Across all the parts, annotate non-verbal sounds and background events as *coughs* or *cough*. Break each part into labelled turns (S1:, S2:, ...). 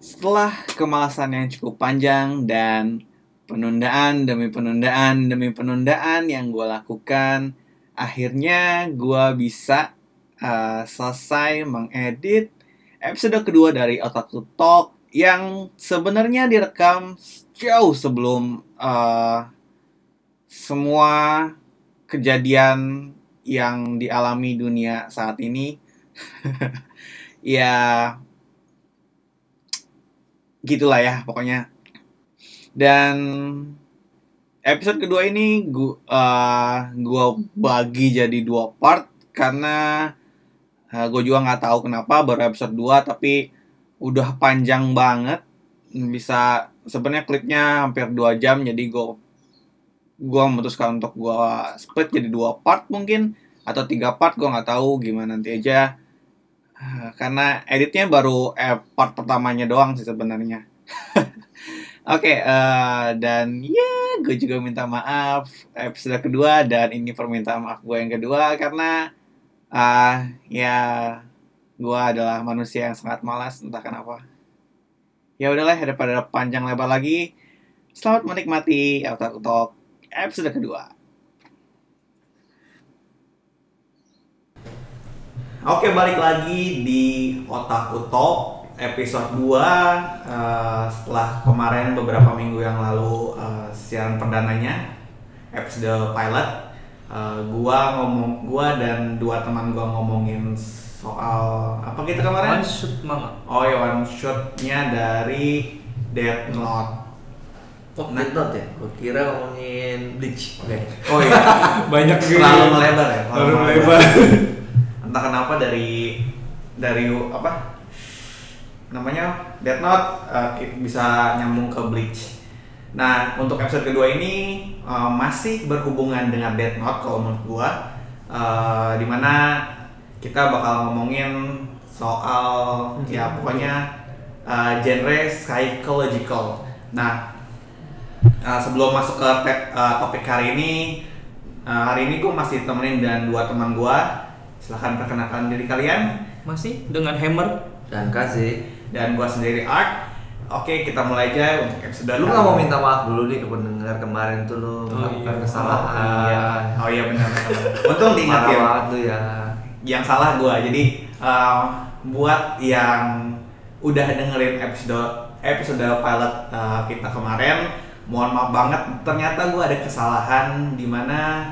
S1: Setelah kemalasan yang cukup panjang dan penundaan demi penundaan demi penundaan yang gue lakukan, akhirnya gue bisa eh, selesai mengedit episode kedua dari Otak to Talk yang sebenarnya direkam jauh sebelum eh, semua kejadian yang dialami dunia saat ini. *laughs* ya, gitulah ya pokoknya dan episode kedua ini gua eh, gua bagi jadi dua part karena eh, gua juga nggak tahu kenapa baru episode 2 tapi udah panjang banget bisa sebenarnya klipnya hampir dua jam jadi gua gua memutuskan untuk gua split jadi dua part mungkin atau tiga part gua nggak tahu gimana nanti aja Eh, karena editnya baru eh, part pertamanya doang sih sebenarnya *laughs* Oke, eh, dan ya gue juga minta maaf episode kedua dan ini permintaan maaf gue yang kedua karena ah ya gue adalah manusia yang sangat malas entah kenapa. Ya udahlah daripada panjang lebar lagi, selamat menikmati Auto Talk episode kedua. Oke, balik lagi di Otaku Talk episode 2 eh, setelah kemarin beberapa minggu yang lalu eh, siaran perdananya episode pilot eh, gua ngomong gua dan dua teman gua ngomongin soal apa gitu kemarin?
S2: One shoot mama.
S1: Oh ya one shotnya dari Death Note.
S3: Kok Deadlock ya? Gue kira ngomongin Bleach Oke
S1: Oh iya.
S2: Banyak
S1: *laughs* Terlalu melebar ya.
S2: Terlalu melebar.
S1: *laughs* Entah kenapa dari dari apa namanya Death Note uh, i- bisa nyambung ke Bleach. Nah untuk episode kedua ini uh, masih berhubungan dengan Death Note kalau menurut gua, uh, dimana kita bakal ngomongin soal ya pokoknya uh, genre psychological. Nah Nah, sebelum masuk ke te- eh, topik hari ini, eh, hari ini gue masih temenin dan dua teman gue. Silahkan perkenalkan diri kalian
S2: Masih dengan hammer.
S3: Dan kasih
S1: dan gue sendiri Art. Oke, kita mulai aja untuk episode.
S3: Lu nggak mau minta maaf dulu nih ke pendengar kemarin tuh lu
S2: iya.
S3: melakukan
S1: Oh
S3: kesalahan
S1: iya, oh iya benar.
S3: *laughs*
S1: benar. Untung
S3: Parah
S1: diingetin.
S3: banget lu ya
S1: yang salah gua jadi um, buat yang udah dengerin episode episode pilot uh, kita kemarin mohon maaf banget ternyata gua ada kesalahan di mana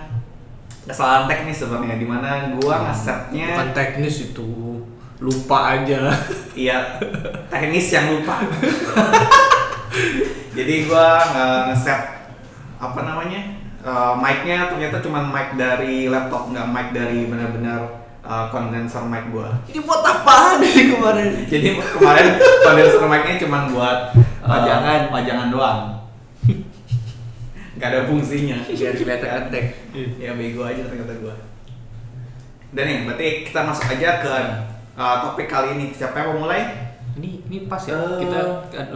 S1: kesalahan teknis sebenarnya di mana
S3: Hmm,
S1: gua
S2: Bukan
S1: ngesetnya
S2: teknis itu. Lupa aja.
S1: iya teknis yang
S3: *laughs*
S1: lupa jadi gua nge- ngeset apa namanya uh, mic-nya ternyata cuma mic dari laptop nggak mic dari benar-benar uh, condenser mic gua
S3: *laughs* Ini buat apaan nih *laughs* kemarin?
S1: Jadi kemarin kondenser mic-nya cuma buat uh,
S3: Pajangan.
S1: pajangan doang. Gak ada fungsinya.
S3: Biar kelihatan antek
S1: ya bego aja ternyata gua. Dan nih, berarti kita masuk aja ke uh, topik kali ini. Siapa yang mau mulai?
S2: *laughs* Ini ini pas ya.
S3: Eh.
S2: Kita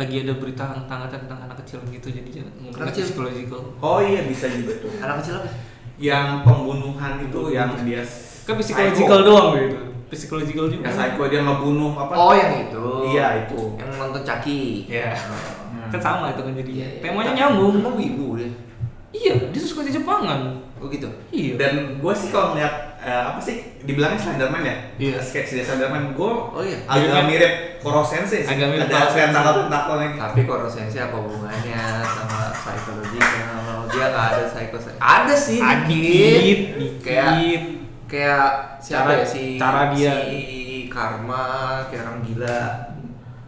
S2: lagi ada berita hangat tentang anak kecil gitu jadi jangan ngomongin
S3: Kecil.
S2: psychological.
S1: Oh iya bisa juga tuh.
S3: Anak kecil apa?
S1: Yang pembunuhan itu yang dia
S2: Kan psychological
S1: psycho.
S2: doang gitu. Psychological juga.
S1: Ya psycho dia ngebunuh apa?
S3: Oh yang itu
S1: Iya, itu.
S3: Yang nonton Caki
S2: Iya.
S1: Hmm.
S2: Kan sama itu kan jadinya.
S3: Iya, iya.
S2: Temanya nyambung.
S3: Emang wibu dia?
S2: Iya, dia suka di Jepangan.
S3: Oh gitu?
S2: Iya.
S1: Dan gue sih kalau ngeliat eh, apa sih dibilangnya Slenderman ya?
S2: Iya.
S1: Sketch dia Slenderman gue
S3: Oh iya
S1: agak
S2: Mirip-
S1: mirip Koro Sensei sih.
S2: Agak mirip
S1: Ada
S2: Koro Sensei.
S1: tentakel-tentakelnya gitu.
S3: tapi kalau sensi apa hubungannya sama psikologi kalau dia nggak ada psiko ada sih
S2: Ah,
S3: dikit kayak
S2: dikit.
S3: kayak siapa
S2: Cara-
S3: ya si
S2: cara dia.
S3: si karma kayak orang gila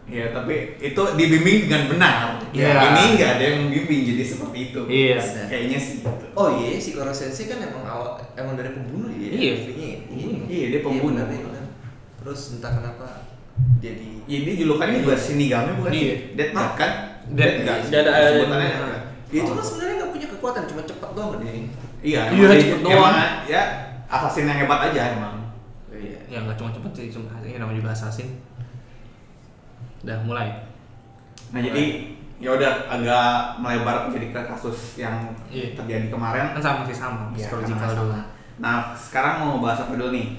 S1: Iya, tapi itu dibimbing dengan benar.
S2: Iya.
S1: Ini nggak ada yang membimbing jadi seperti itu.
S2: Iya.
S1: Kayaknya sih gitu.
S3: oh iya si Koro Sensei kan emang awal emang dari pembunuh ya
S2: Iya.
S3: aslinya ya?
S1: Iya, dia pembunuh.
S3: benar, dia benar. terus entah kenapa jadi
S1: Ya, dia julukannya juga Shinigami bukan
S2: Iya.
S1: sih? Death Note kan?
S2: Death- Iya,
S1: nggak sih?
S2: Death- ada-
S1: Sebutannya
S2: ada-
S1: nggak?
S3: dia itu kan sebenarnya nggak punya kekuatan cuma cepat doang kan dia
S1: Iya,
S2: Iya,
S1: emang dia-
S2: cepet
S1: emang
S2: doang.
S1: Ya, assassin yang hebat aja emang.
S3: Oh iya
S2: ya nggak cuma cepet sih cuma ya namanya juga assassin udah mulai
S1: Nah, jadi ya udah agak melebar jadi ke kasus yang
S2: Iya.
S1: terjadi kemarin.
S2: kan sama sih sama
S1: Iya,
S2: psychological
S1: karena
S2: doang
S1: Nah, sekarang mau bahas apa dulu nih?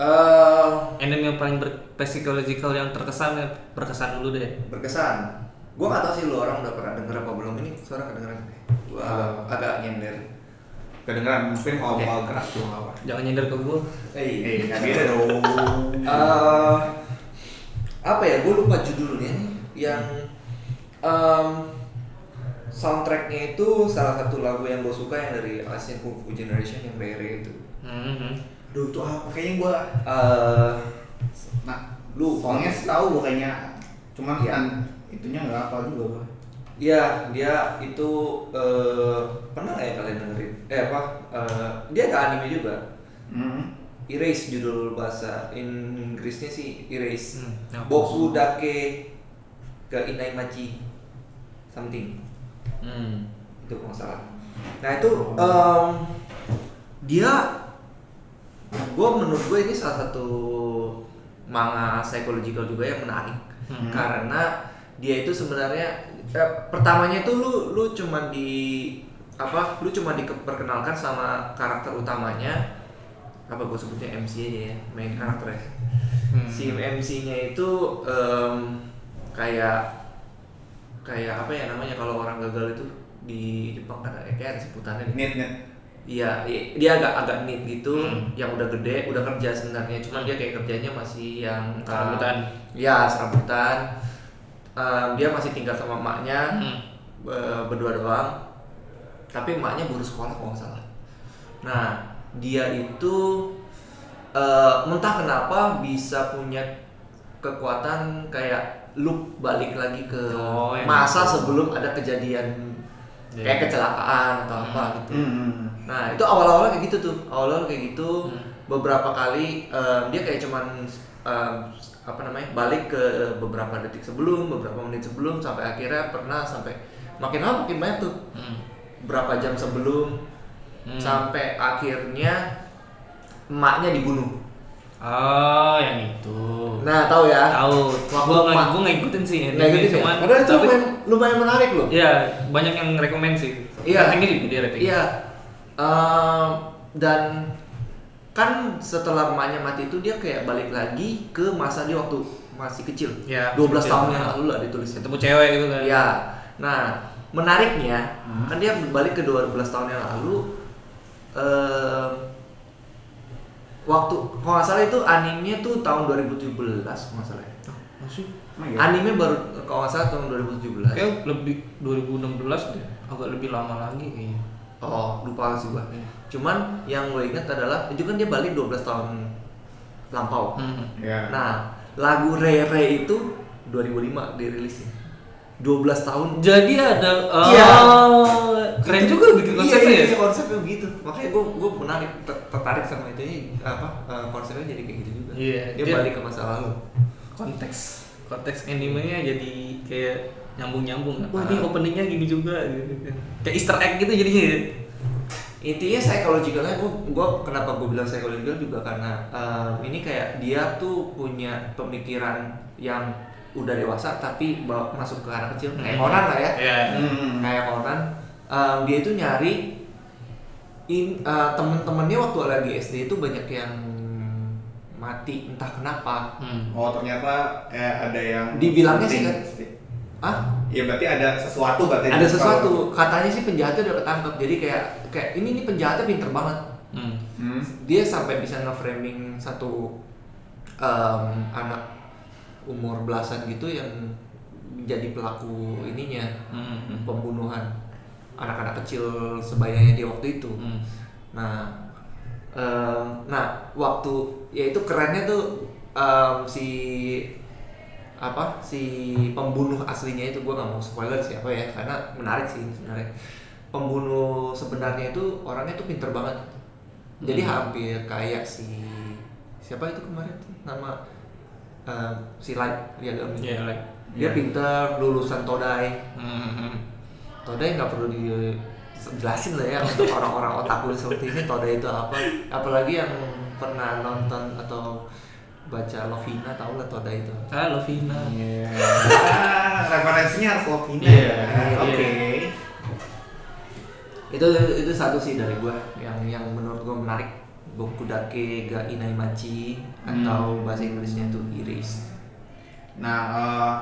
S3: Eh,
S2: anime yang paling ber- psychological yang terkesan yang berkesan dulu deh.
S3: berkesan gue gak tau sih lu orang udah pernah denger apa belum ini suara kedengeran gue agak, agak nyender
S1: Kedengeran mungkin kalau
S3: Oke. Iya,
S1: bakal keras juga nggak apa.
S2: Jangan nyender ke gue.
S1: Eh,
S3: nggak
S1: beda
S3: tahu.
S1: dong.
S3: Eh, apa ya gue lupa judulnya nih yang em, soundtracknya itu salah satu lagu yang gue suka yang dari Asian Kung Fu Generation yang Rere itu
S2: Mhm.
S1: Aduh, itu apa? Kayaknya gua
S3: Eh,
S1: nah, lu pokoknya tahu gua kayaknya. Cuman
S3: Iya.
S1: kan itunya nggak apa juga gua.
S3: Iya, dia itu eh, pernah nggak ya kalian dengerin? Eh apa? Eh, dia ada anime juga.
S1: Hmm.
S3: Erase judul bahasa Inggrisnya sih Erase.
S2: Hmm, ya.
S3: Boku dake ke inaimachi something
S2: Hmm.
S3: itu kalau nggak salah. Nah itu
S2: Oh.
S3: em, dia, gue menurut gue ini salah satu manga psychological juga yang menarik
S2: Hmm.
S3: karena dia itu sebenarnya eh, pertamanya itu lu lu cuman di apa lu cuma diperkenalkan sama karakter utamanya apa gue sebutnya MC aja ya main karakter ya
S2: Hmm.
S3: si MC-nya itu em, kayak kayak apa ya namanya kalau orang gagal itu di Jepang kan ada- kayak ada sebutannya deh.
S1: Net net.
S3: Iya, i- dia agak agak neat gitu,
S2: Hmm.
S3: yang udah gede, udah kerja sebenarnya, cuman dia kayak kerjanya masih yang um,
S2: Serabutan.
S3: Iya, serabutan. Um, dia masih tinggal sama emaknya
S2: Hmm.
S3: be- berdua doang. Tapi emaknya baru sekolah kalau nggak salah. Nah, dia itu eh, entah kenapa bisa punya kekuatan kayak loop balik lagi ke
S2: Oh, yang
S3: masa
S2: itu.
S3: sebelum ada kejadian
S2: Iya.
S3: kayak kecelakaan atau apa
S2: Hmm.
S3: gitu.
S1: Hmm.
S3: Nah itu awal-awal kayak gitu tuh, awal-awal kayak gitu
S2: Hmm.
S3: beberapa kali em, dia kayak cuman em, apa namanya balik ke beberapa detik sebelum, beberapa menit sebelum sampai akhirnya pernah sampai makin lama makin banyak tuh
S2: Hmm.
S3: berapa jam sebelum
S2: Hmm.
S3: sampai akhirnya emaknya dibunuh.
S2: Oh, yang itu.
S3: Nah tahu ya?
S2: Tahu.
S3: Waktu
S2: Gua nggak
S3: ma-
S2: gua ngikutin sih.
S3: Nah gitu sih.
S2: cuman-
S3: Padahal itu
S2: tapi-
S3: lumayan, lumayan menarik loh.
S2: Iya, banyak yang rekomend sih.
S3: Iya.
S2: Ratingnya juga dia rating.
S3: Iya. Ehm, dan kan setelah emaknya mati itu dia kayak balik lagi ke masa dia waktu masih kecil.
S2: Iya,
S3: 12
S2: kecil.
S3: tahun yang lalu lah ditulisnya.
S2: Ketemu cewek gitu kan.
S3: Iya. Nah, menariknya
S2: Hmm.
S3: kan dia balik ke 12 tahun yang lalu ehm, waktu kalau nggak salah itu animenya tuh tahun 2017 kalau nggak salah. ya.
S2: Oh, Masih.
S1: Emang iya?
S3: Anime baru kalau nggak salah tahun 2017.
S2: Kayak lebih 2016 deh. Agak lebih lama lagi kayaknya.
S3: Oh, lupa sih gua.
S2: Iya.
S3: Cuman yang gue ingat adalah itu kan dia balik 12 tahun lampau.
S2: Hmm.
S1: Iya.
S3: Nah, lagu Rere itu 2005 dirilisnya. 12 tahun.
S2: Jadi ada oh,
S3: Iya.
S2: keren juga
S3: iya,
S2: bikin konsepnya
S3: iya,
S2: ya.
S3: iya, konsepnya begitu. Makanya gue gue menarik ter- tertarik sama itu apa eh, konsepnya jadi kayak gitu juga.
S2: Iya,
S3: Dia,
S2: dia-
S3: balik ke masa lalu.
S2: Konteks konteks animenya jadi kayak nyambung-nyambung.
S3: Ah.
S2: Wah, ini openingnya gini juga gitu. Kayak Easter egg gitu jadinya ya.
S3: Intinya psychologicalnya gue gue kenapa gue bilang psychological juga karena eh, ini kayak dia tuh punya pemikiran yang udah dewasa tapi bawa- masuk ke arah kecil kayak
S2: Hmm.
S3: Conan lah ya.
S2: Iya.
S1: Hmm.
S3: kayak Conan um, dia itu nyari in uh, temen-temennya waktu lagi SD itu banyak yang mati entah kenapa
S2: Hmm.
S1: Oh, ternyata eh, ada yang
S3: Dibilangnya sih,
S1: penting.
S3: kan? ah
S1: Ya berarti ada sesuatu katanya.
S3: ada sesuatu katanya sih penjahatnya udah ketangkep jadi kayak kayak ini nih penjahatnya pinter banget
S2: Hmm.
S1: Hmm.
S3: dia sampai bisa nge-framing satu um, anak umur belasan gitu yang jadi pelaku ininya
S2: Hmm. Hmm.
S3: pembunuhan anak-anak kecil sebayanya dia waktu itu
S2: Hmm.
S3: Nah, em, nah waktu ya itu kerennya tuh em, si apa si pembunuh aslinya itu gue nggak mau spoiler siapa ya karena menarik sih sebenarnya pembunuh sebenarnya itu orangnya tuh pinter banget jadi
S2: Hmm.
S3: hampir kayak si siapa itu kemarin tuh nama em, si Light Yagami
S2: Iya, like.
S3: dia
S1: Iya.
S3: pinter lulusan Todai
S2: Hmm. Hmm.
S3: Todai nggak perlu dijelasin lah ya untuk orang-orang otakku seperti ini Todai itu apa apalagi yang pernah nonton atau baca Lovina tahu lah Todai itu
S2: Ah, Lovina.
S1: Iya.
S2: *laughs*
S1: Ah, Referensinya harus Lovina.
S2: Iya,
S1: Ah, Oke.
S3: itu itu satu sih dari gua yang yang menurut gua menarik Bokudake ga Inaimachi
S1: Hmm.
S3: atau bahasa Inggrisnya tuh Iris.
S1: Nah, eh,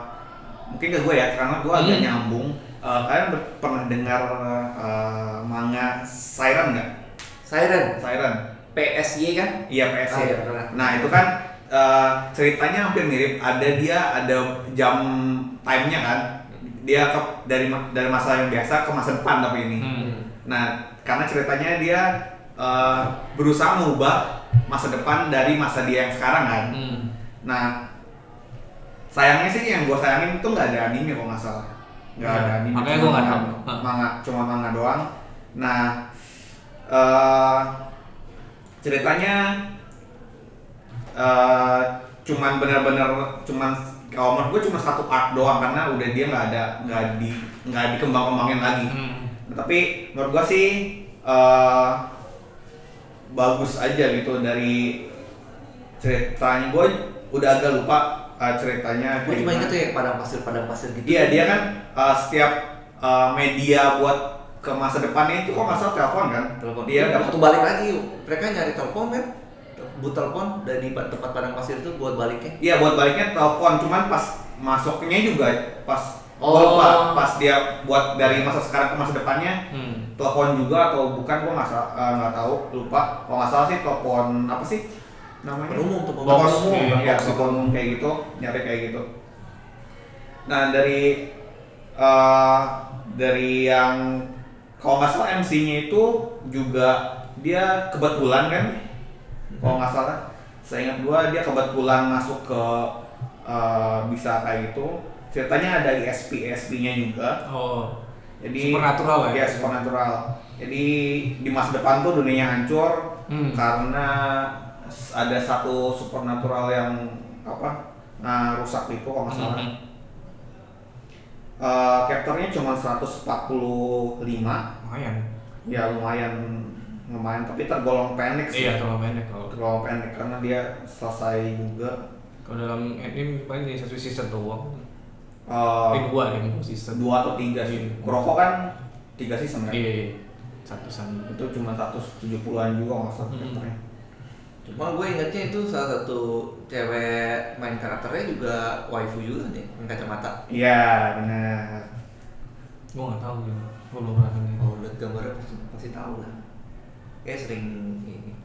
S1: mungkin ke gue ya, karena gue agak
S2: Hmm.
S1: nyambung. Eh, kalian ber- pernah dengar eh, manga Siren nggak?
S3: Siren,
S1: Siren.
S3: PSY kan?
S1: Iya PS
S3: Ah,
S1: ya.
S3: iya, pernah.
S1: Nah itu kan eh, ceritanya hampir mirip. Ada dia ada jam timenya kan. Dia ke, dari ma- dari masa yang biasa ke masa depan tapi ini.
S2: Hmm.
S1: Nah karena ceritanya dia eh, berusaha mengubah masa depan dari masa dia yang sekarang kan.
S2: Hmm.
S1: Nah, sayangnya sih yang gue sayangin tuh nggak ada anime kalau nggak salah. Nggak
S2: Iya,
S1: ada anime.
S2: makanya
S1: cuma
S2: gua nggak
S1: manga-
S2: tahu. Hah.
S1: Manga, cuma manga doang. Nah, eh ceritanya eh cuman benar-benar cuman kalau menurut gue cuma satu arc doang karena udah dia nggak ada nggak di nggak dikembang-kembangin lagi.
S2: Hmm.
S1: Tapi menurut gua sih eh, bagus aja gitu dari ceritanya. Gua udah agak lupa eh, ceritanya.
S3: Gue
S1: kayak
S3: cuma
S1: gimana.
S3: inget tuh yang padang pasir padang pasir gitu.
S1: Iya dia kan eh, setiap eh, media buat ke masa depannya itu kok nggak salah telepon kan?
S3: Telepon.
S1: Dia dapat
S3: waktu balik lagi mereka nyari telepon kan? Bu telepon dari pa- tempat padang pasir itu buat baliknya.
S1: Iya buat baliknya telepon cuman pas masuknya juga pas gua
S3: Oh.
S1: lupa, pas dia buat dari masa sekarang ke masa depannya
S2: Hmm.
S1: telepon juga atau bukan gua nggak sa- eh, nggak tahu lupa kalau nggak salah sih telepon apa sih namanya
S3: Penumum, telepon
S1: telepon
S2: box.
S1: umum
S2: Iya,
S1: ya
S2: box.
S1: telepon umum kayak gitu nyari kayak gitu nah dari eh, dari yang kalau nggak salah MC-nya itu juga dia kebetulan kan kalau nggak salah saya ingat gua dia kebetulan masuk ke eh, bisa kayak gitu ceritanya ada ISP ISP-nya juga
S2: Oh.
S1: jadi
S2: Supernatural ya?
S1: Iya, supernatural. Jadi di masa depan tuh dunianya hancur
S2: Hmm.
S1: karena s- ada satu supernatural yang apa? Nah, rusak itu kalau nggak salah.
S2: Hmm.
S1: Eh, Capture-nya cuma 145.
S2: Lumayan.
S1: Ya lumayan lumayan tapi tergolong pendek sih.
S2: Iya, kalau pendek kalau
S1: Tergolong pendek karena dia selesai juga
S2: kalau dalam anime paling jadi satu season doang.
S1: eh,
S2: Tapi dua nih dua season.
S1: dua atau tiga sih.
S2: Iya.
S1: Kuroko kan tiga season kan?
S2: Iya, iya. Satu sama.
S1: Itu cuma 170-an juga nggak salah
S2: Hmm.
S1: capture-nya.
S3: Cuma gue ingetnya itu salah satu cewek main karakternya juga waifu juga nih, yang kacamata.
S1: Iya, benar.
S2: Gua nggak tahu gitu. Gua belum pernah nonton.
S3: Kalau lihat gambarnya pasti, pasti tahu lah. Kayak sering ini.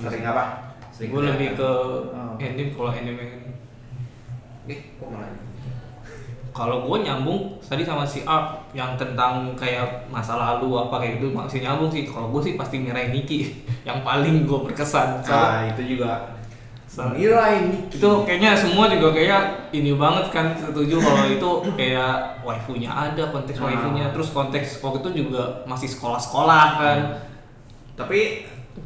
S1: Sering apa?
S3: Sering
S2: Gua lebih ke
S1: Oh.
S2: anime kalau anime ini.
S3: Eh, kok malah ini?
S2: Kalau gua nyambung tadi sama si Arp yang tentang kayak masa lalu apa kayak gitu masih nyambung sih. Kalau gua sih pasti Mirai Nikki *laughs* yang paling gua berkesan. Soalnya-
S1: Ah, itu juga.
S2: soalnya-
S3: Mirai Nikki.
S2: itu kayaknya semua juga kayak ini banget kan setuju kalau itu kayak waifunya ada konteks
S1: Ah.
S2: waifunya terus konteks waktu itu juga masih sekolah-sekolah kan
S1: Tapi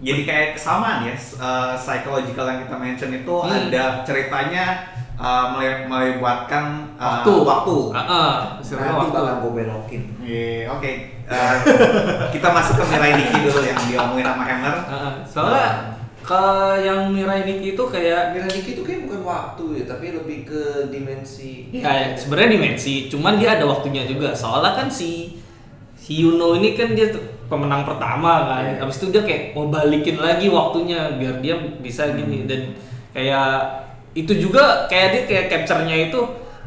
S1: jadi kayak kesamaan ya s- eh, psychological yang kita mention itu
S2: Hmm.
S1: ada ceritanya eh, mele- melebatkan eh,
S2: waktu
S1: waktu.
S2: Ah, ah,
S3: nanti
S2: sebenarnya waktu
S3: bakal gue belokin.
S1: Iya, oke. Eh, kita masuk ke Mirai Nikki dulu yang diomongin sama Hammer.
S2: Ah, ah. soalnya ke yang Mirai Nikki itu kayak
S3: Mirai Nikki itu kayak bukan waktu ya, tapi lebih ke dimensi.
S2: ya sebenarnya dimensi cuman dia ada waktunya juga soalnya kan si si Yuno ini kan dia tuh pemenang pertama kan
S3: Iya.
S2: habis itu dia kayak mau balikin lagi waktunya biar dia bisa
S3: Hmm.
S2: gini dan kayak itu juga kayak dia kayak capture-nya itu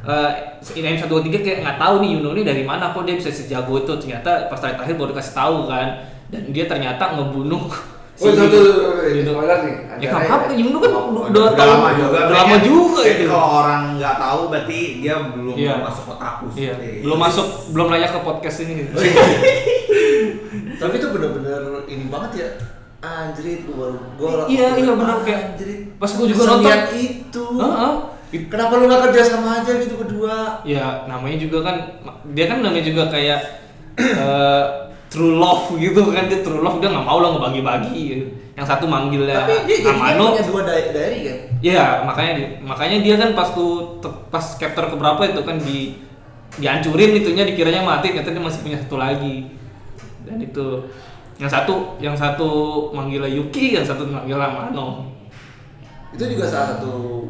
S2: eh ini satu tiga kayak nggak tahu nih Yuno ini dari mana kok dia bisa sejago itu ternyata pas terakhir baru kasih tahu kan dan dia ternyata ngebunuh
S3: Oh, itu tuh
S2: Yuno.
S3: spoiler nih.
S2: ya nggak apa-apa Yuno kan udah,
S1: Oh,
S2: udah tahu- udah lama
S1: kayaknya.
S2: juga
S1: Jadi
S2: itu
S1: kalau orang nggak tahu berarti dia belum
S2: Iya.
S1: masuk otakku.
S2: Iya, belum masuk, belum layak ke podcast ini.
S3: Oh, iya. Tapi itu bener-bener ini banget ya. Anjrit, gue
S2: I- iya, iya, bener, kayak pas gua juga
S3: Seniat
S2: nonton.
S3: itu.
S2: Heeh.
S3: Kenapa lu gak kerja sama aja gitu berdua?
S2: Ya namanya juga kan, dia kan namanya juga kayak *clears throat* eh, true love gitu kan dia true love dia nggak mau lah ngebagi-bagi. gitu. Yang satu manggilnya
S3: Tapi dia jadinya
S2: Amano.
S3: punya dua da- diary kan?
S2: Iya makanya di- makanya dia kan pas tuh te- pas capture keberapa itu kan di dihancurin itunya dikiranya mati ternyata dia masih punya satu lagi dan itu yang satu yang satu manggilnya Yuki yang satu manggilnya Amano.
S3: Itu juga salah satu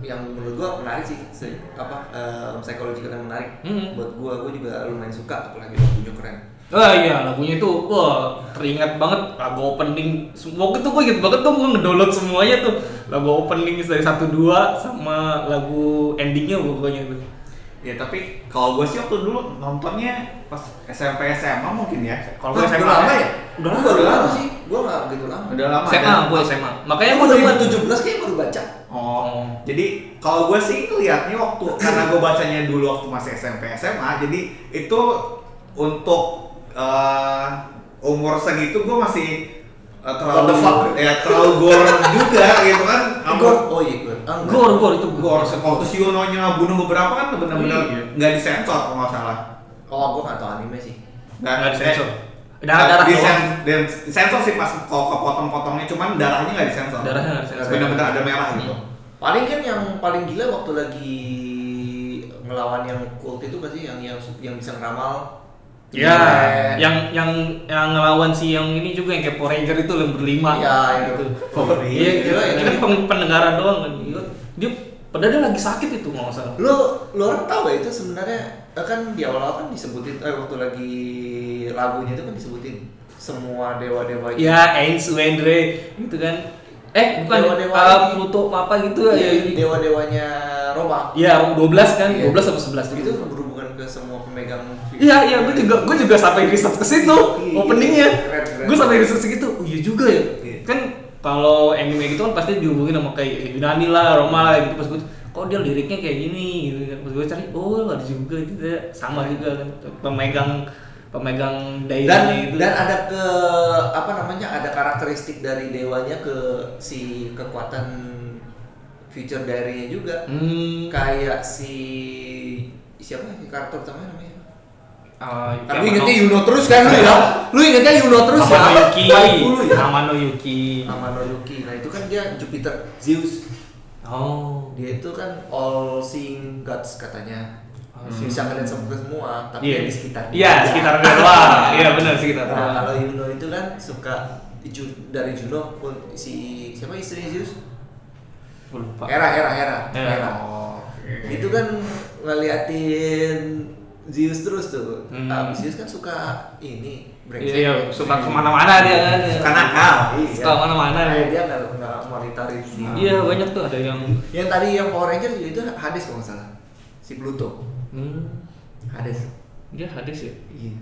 S3: yang menurut gua menarik sih, se- apa em, psychological yang menarik
S2: Hmm.
S3: buat gua gua juga lumayan suka apalagi waktunya keren
S2: Wah iya lagunya itu wah teringat banget lagu opening semua itu gue inget banget tuh gue ngedownload semuanya tuh lagu opening dari satu dua sama lagu endingnya pokoknya itu.
S1: Ya tapi kalau gue sih waktu dulu nontonnya pas SMP SMA mungkin ya. Kalau
S2: gue
S1: gue
S3: Udah
S1: SMA
S3: lama ya?
S2: Udah
S3: Gua
S2: lama.
S3: baru lama sih. Gua enggak begitu lama.
S1: udah lama.
S2: SMA
S1: dan-
S2: gue SMA makanya
S3: Kayaknya
S2: gue
S1: iya,
S3: gua
S2: dulu
S3: 2017 kayaknya baru baca.
S1: Oh. Jadi kalau gue sih lihatnya waktu karena gue bacanya dulu waktu masih SMP SMA, jadi itu untuk eh, umur segitu gue masih eh,
S3: What the fuck?
S1: terlalu ya terlalu gor juga gitu kan.
S3: Gor.
S1: Amor
S3: Oh iya, gor. Ah, enggak.
S2: gor gor itu
S1: gor waktu Shiononya bunuh beberapa kan
S2: Iya.
S1: benar-benar nggak disensor kalau nggak salah.
S3: Oh, gua enggak tahu anime sih.
S2: nggak disensor
S1: eh,
S2: darah darah doang.
S1: disen- dis- disensor sih pas kalau kepotong-potongnya cuman darahnya nggak disensor.
S2: darahnya nggak disensor.
S1: Benar-benar ada merah gitu.
S3: Paling kan yang paling gila waktu lagi ngelawan yang cult itu pasti yang yang yang bisa ngeramal.
S2: Ya,
S3: Eh,
S2: yang yang yang ngelawan si yang ini juga yang kayak Power Ranger itu yang berlima.
S3: Iya, yang
S2: gitu.
S1: Power Ranger.
S2: Iya, itu
S3: Iya,
S2: kan
S3: iya.
S2: peng- pendengaran doang kan. Iya. Dia padahal dia lagi sakit itu nggak salah.
S3: Lo lo orang tahu ya itu sebenarnya eh, kan di awal-awal kan disebutin eh waktu lagi lagunya itu kan disebutin semua dewa-dewa itu.
S2: Ya, Ains Wendre gitu kan. Eh, bukan
S3: Dewa-dewa
S2: eh,
S3: ini.
S2: Pluto apa gitu
S3: Iya,
S2: ya.
S3: dewa-dewanya Roma.
S2: Iya, 12 kan?
S3: Iya.
S2: 12 atau 11
S3: Itu
S2: gitu.
S3: berhubungan ke semua pemegang
S2: Iya, iya, gue juga gue juga sampai riset ke situ
S3: Iya,
S2: openingnya.
S3: keren, keren.
S2: Gue sampai riset segitu. Oh, iya juga ya.
S1: Iya.
S2: Kan kalau anime gitu kan pasti dihubungin sama kayak Yunani lah, Roma lah gitu pas gue kok dia liriknya kayak gini gitu kan. Pas gue cari, oh ada juga gitu ya. Sama juga kan pemegang pemegang daerahnya
S3: dan
S2: gitu. itu.
S3: dan ada ke apa namanya ada karakteristik dari dewanya ke si kekuatan future diary-nya juga
S2: hmm,
S3: kayak si siapa ya karakter utamanya namanya
S2: ah,
S3: tapi
S2: Yukiyama
S3: ingetnya
S2: no-
S3: Yuno terus kan lu ya lu ingetnya Yuno terus ya
S2: Amano Yuki,
S3: Waifu lu ya
S2: Amano Yuki.
S3: Amano Yuki nah itu kan dia Jupiter Zeus
S2: Oh,
S3: dia itu kan all seeing gods katanya bisa ngeliat semua semua tapi
S2: Hmm. Iya.
S3: di sekitar dia
S2: Iya,
S3: aja.
S2: sekitar dia
S3: *laughs*
S2: doang. Iya, benar sekitar
S3: Ah, Nah,
S2: doang.
S3: kalau Yuno itu kan suka Ju- dari Juno pun si siapa istrinya Zeus?
S2: Gua lupa.
S3: Hera, Hera, Hera.
S2: Hera.
S3: Hera. Itu kan ngeliatin Zeus terus tuh.
S2: Hmm.
S3: Ah, Zeus kan suka ini brengsek. Nah,
S2: Iya, suka kemana-mana dia kan.
S1: Suka nakal.
S3: Iya.
S2: Suka kemana-mana
S3: Nah,
S2: dia.
S3: dia nggak nggak monitorin sih.
S2: Iya banyak tuh ada yang
S3: Yang tadi yang Power Ranger juga itu Hades kalau nggak salah. Si Pluto.
S2: hmm,
S3: Hades.
S2: dia hadis ya.
S3: Iya.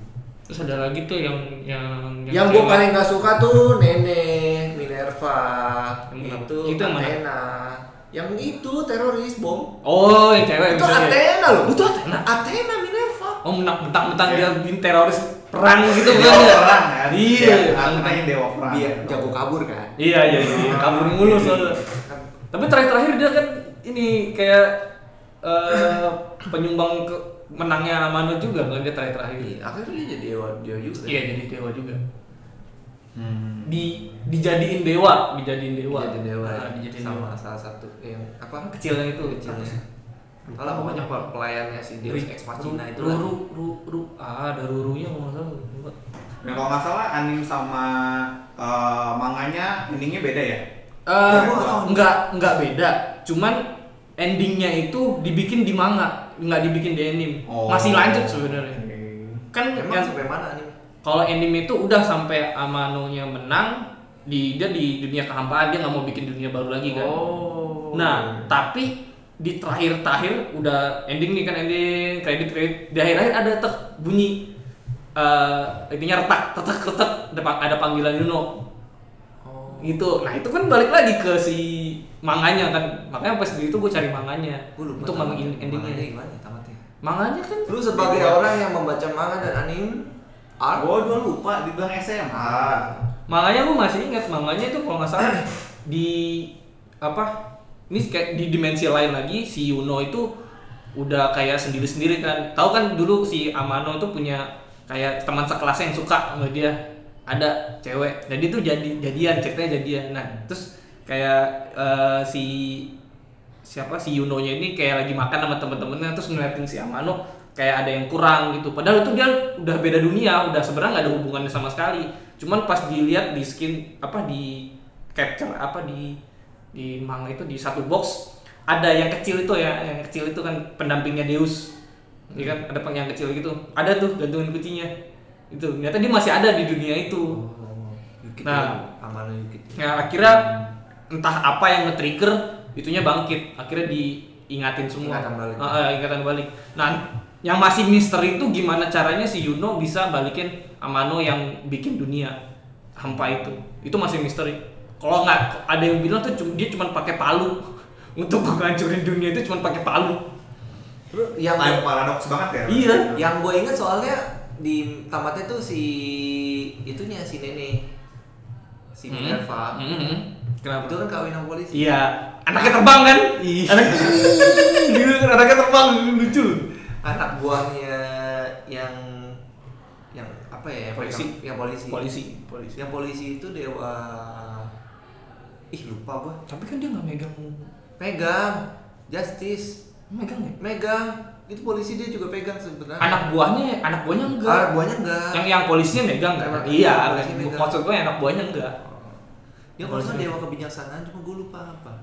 S2: Terus ada lagi tuh yang yang
S3: Yang gue paling nggak suka tuh Nene, Minerva,
S2: Yang mana?
S3: itu,
S2: Itu yang mana?
S3: Athena. Yang itu teroris bom.
S2: Oh, yang cewek
S3: Itu
S2: misalnya.
S3: Athena loh.
S2: Itu Athena.
S3: Athena Minerva.
S2: Oh, mentang-mentang
S3: Iya.
S2: dia bin teroris perang gitu kan.
S1: Dewa perang kan?
S2: Iya,
S1: Anaknya dewa perang.
S3: Dia jago kabur kan.
S2: Iya, iya, iya. Kabur mulu soalnya. Tapi terakhir-terakhir dia kan ini kayak eh, penyumbang ke menangnya Amano juga kan dia terakhir-terakhir.
S3: Iya, akhirnya dia jadi dewa dia juga.
S2: Iya, jadi dewa juga.
S1: Hmm.
S2: Di dijadiin dewa, dijadiin
S3: Dia
S2: dewa.
S3: jadi dewa. ya.
S2: Ah, dijadiin
S3: sama
S2: dewa.
S3: salah satu yang apa?
S2: Kecilnya itu,
S3: Kecilnya.
S2: kecilnya.
S3: Kalau pokoknya pel- pelayannya si Deus
S2: Ri-
S3: Ex Machina
S2: Ru-
S3: itu kan? Iya,
S2: Ruru,
S3: lagi.
S2: Ru, Ru, ah ada Rurunya kalau nggak salah. Lupa.
S1: Dan kalau nggak salah anim sama eh, manganya endingnya beda ya.
S2: Eh,
S1: gua nggak tahu.
S2: nggak nggak beda, cuman endingnya itu dibikin di manga, nggak dibikin di anime.
S1: Oh.
S2: Masih lanjut sebenarnya. Kan
S3: Oh. Emang
S2: yang-
S3: sampai mana nih?
S2: kalau anime itu udah sampai Amano-nya menang, di dia di dunia kehampaan dia nggak mau bikin dunia baru lagi kan.
S3: Oh.
S2: Nah, tapi di terakhir-terakhir udah ending nih kan ending kredit kredit di akhir-akhir ada tek bunyi eh intinya retak retak retak ada, pang- ada panggilan Yuno
S3: Oh.
S2: gitu nah itu kan balik lagi ke si manganya kan makanya pas di itu gue cari manganya
S3: Gua lupa
S2: untuk
S3: tamat-
S2: mangin
S3: tamatnya
S2: endingnya
S3: gimana tamatnya?
S2: manganya kan
S3: Lu sebagai
S1: Dibuat.
S3: orang yang membaca manga dan anime, art
S1: Gue udah lupa dibilang SMA.
S2: manganya gue masih ingat manganya itu kalau nggak salah di apa ini kayak di dimensi lain lagi si Yuno itu udah kayak sendiri-sendiri kan tahu kan dulu si Amano itu punya kayak teman sekelasnya yang suka sama dia ada cewek jadi itu jadi jadian ceritanya jadian nah terus kayak eh, si siapa si Yunonya ini kayak lagi makan sama temen-temennya terus ngeliatin si Amano kayak ada yang kurang gitu padahal itu dia udah beda dunia udah sebenarnya nggak ada hubungannya sama sekali cuman pas dilihat di skin apa di capture apa di di manga itu di satu box ada yang kecil itu ya yang kecil Iya itu kan pendampingnya Deus ya kan ada peng- yang kecil gitu ada tuh gantungan kuncinya itu ternyata dia masih ada di dunia itu
S3: Yukit
S2: Nah.
S3: ya, Amano Yukit.
S2: nah akhirnya entah apa yang nge-trigger itunya bangkit akhirnya diingatin semua
S3: Ingatan balik.
S2: Ah, ah, ingatan balik nah yang masih misteri itu gimana caranya si Yuno bisa balikin Amano yang bikin dunia hampa itu itu masih misteri kalau nggak ada yang bilang tuh cu- dia cuma pakai palu *laughs* untuk menghancurin dunia itu cuma pakai palu
S3: Yang
S4: Yang paradoks banget ya.
S2: Iya.
S3: yang gue inget soalnya di tamatnya tuh si itunya si Nene si
S2: Hmm.
S3: Minerva
S2: Mhm. kenapa
S3: itu kan kawinan polisi
S2: Iya, anaknya terbang kan?
S3: Iya.
S2: Anak- *laughs* Gila kan anaknya terbang lucu.
S3: anak buahnya yang yang apa ya yang
S2: Polisi.
S3: pegang- yang polisi
S2: Polisi, polisi.
S3: yang polisi itu dewa ih lupa gue
S2: Tapi kan dia nggak megang,
S3: pegang justice
S2: megang ya?
S3: megang itu polisi dia juga pegang sebenarnya
S2: Anak buahnya, anak buahnya enggak.
S3: anak buahnya enggak
S2: Yang yang polisinya megang kan?
S3: Ah, Anak-
S2: Iya,
S3: anak
S2: kan?
S3: polisi megang.
S2: maksud gue anak buahnya enggak.
S3: dia kalau nggak dewa kebijaksanaan cuma gue lupa apa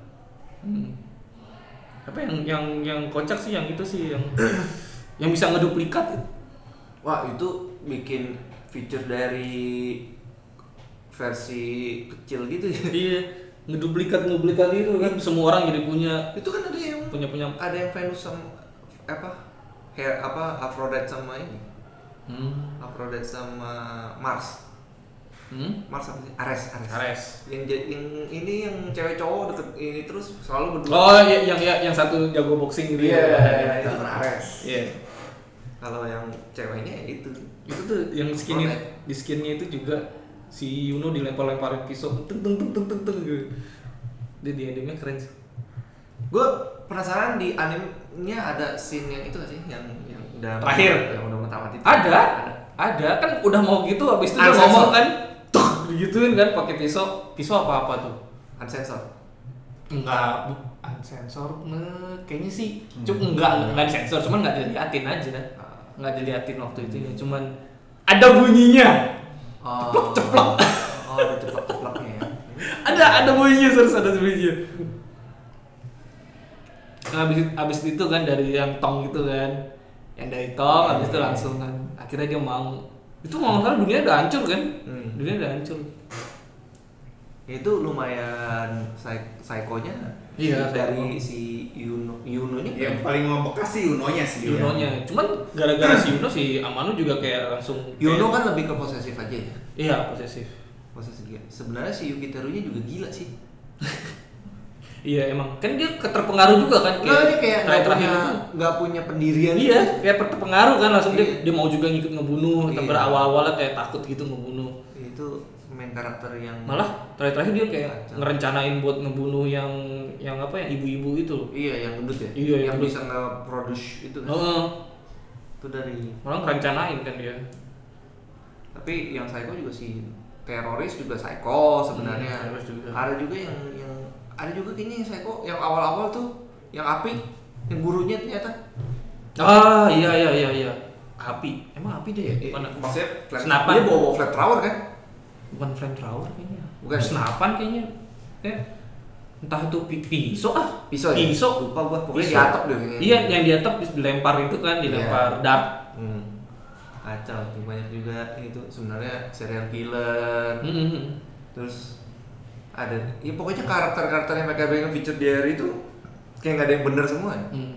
S2: Hmm. Apa yang yang yang kocak sih yang itu sih yang yang bisa ngeduplikat
S3: Wah itu bikin fitur dari versi kecil gitu ya.
S2: dia Iya, ngeduplikat ngeduplikat itu kan semua orang jadi punya
S3: Itu kan ada yang
S2: punya punya
S3: ada yang Venus sama apa hair apa Aphrodite sama ini
S2: hmm.
S3: Aphrodite sama Mars
S2: Hmm?
S3: Mars apa sih Ares Ares,
S2: Ares
S3: Yang, ja- yang ini yang cewek cowok deket ini terus selalu berdua
S2: oh iya, yang yang yang satu jago boxing gitu
S3: Iya,
S2: ya.
S3: itu kan Ares
S2: Iya.
S3: kalau yang ceweknya ya itu
S2: Itu tuh yang skinnya
S3: Protek.
S2: di skinnya itu juga si Yuno dilempar-lemparin pisau teng teng teng teng teng teng gitu. Dia di endingnya keren sih.
S3: gue penasaran di animenya ada scene yang itu gak sih yang yang udah
S2: Terakhir.
S3: yang udah mentamat itu
S2: Ada, ada kan udah mau gitu habis itu dia
S3: Uncensored.
S2: ngomong kan tuh digituin kan pakai pisau. Pisau apa-apa tuh?
S3: unsensor
S2: Enggak sensor kayaknya sih cuma enggak enggak disensor cuman enggak diliatin aja enggak diliatin waktu itu ya cuman ada bunyinya
S3: Oh.
S2: Ceplok, ceplok.
S3: *laughs* Oh, ada ceplok-ceploknya ya.
S2: ada ada bunyinya terus ada bunyinya nah, abis, abis itu kan dari yang tong gitu kan yang dari tong abis itu langsung kan akhirnya dia mau itu mau nggak salah dunia udah hancur kan
S3: Hmm.
S2: dunia udah hancur
S3: Itu lumayan psy- psychonya
S2: Iya,
S3: dari si Yuno Yunonya.
S1: Iya.
S4: Yang paling membekas sih Unonya sih. dia.
S2: Yunonya cuman Iya. gara-gara si *clears throat* Yuno si Amano juga kayak langsung kayak-
S3: Yuno kan lebih ke posesif aja ya.
S2: iya posesif
S3: Posesif gila. Sebenarnya si Yukiterunya juga gila sih.
S2: iya emang kan dia keterpengaruh juga kan
S3: Enggak dia kayak nggak
S2: terakhir-terakhir
S3: punya
S2: itu.
S3: nggak punya pendirian. gitu.
S2: Iya, kayak terpengaruh kan langsung
S3: Iya.
S2: dia, dia mau juga ngikut ngebunuh, tapi
S3: Iya.
S2: awal-awalnya kayak takut gitu ngebunuh.
S3: Itu main karakter yang
S2: malah terakhir-terakhir dia kayak
S3: Kacau.
S2: ngerencanain buat ngebunuh yang yang apa yang ibu-ibu itu loh
S3: Iya, yang gendut ya.
S2: Iya, yang
S3: yang
S2: gendut.
S3: bisa nge-produce itu kan.
S2: Heeh.
S3: Itu dari
S2: malah ngerencanain kan dia
S3: tapi yang psycho juga si teroris juga psycho sebenarnya
S2: Hmm, teroris juga.
S3: ada juga yang yang ada juga kayaknya yang psycho yang awal-awal tuh yang api yang gurunya ternyata
S2: ah iya iya iya iya api emang api dia ya bukan
S4: Maksudnya
S3: flat,
S2: Senapan.
S3: dia bawa, bawa flat tower kan
S2: bukan flame thrower kayaknya
S3: Bukan.
S2: senapan kayaknya kayak entah itu pi- pisau ah
S3: Pisau ya?
S2: pisau
S3: Lupa gua, pokoknya di
S2: Pisau.
S3: atap deh kayaknya.
S2: iya yang di atap dilempar itu kan dilempar dart
S3: hmm. kacau tuh, banyak juga itu sebenarnya serial
S2: Hmm.
S3: killer
S2: Mm-mm.
S3: terus ada ya pokoknya karakter-karakter yang mereka pegang feature diary itu kayak nggak ada yang bener semua ya.
S2: Mm.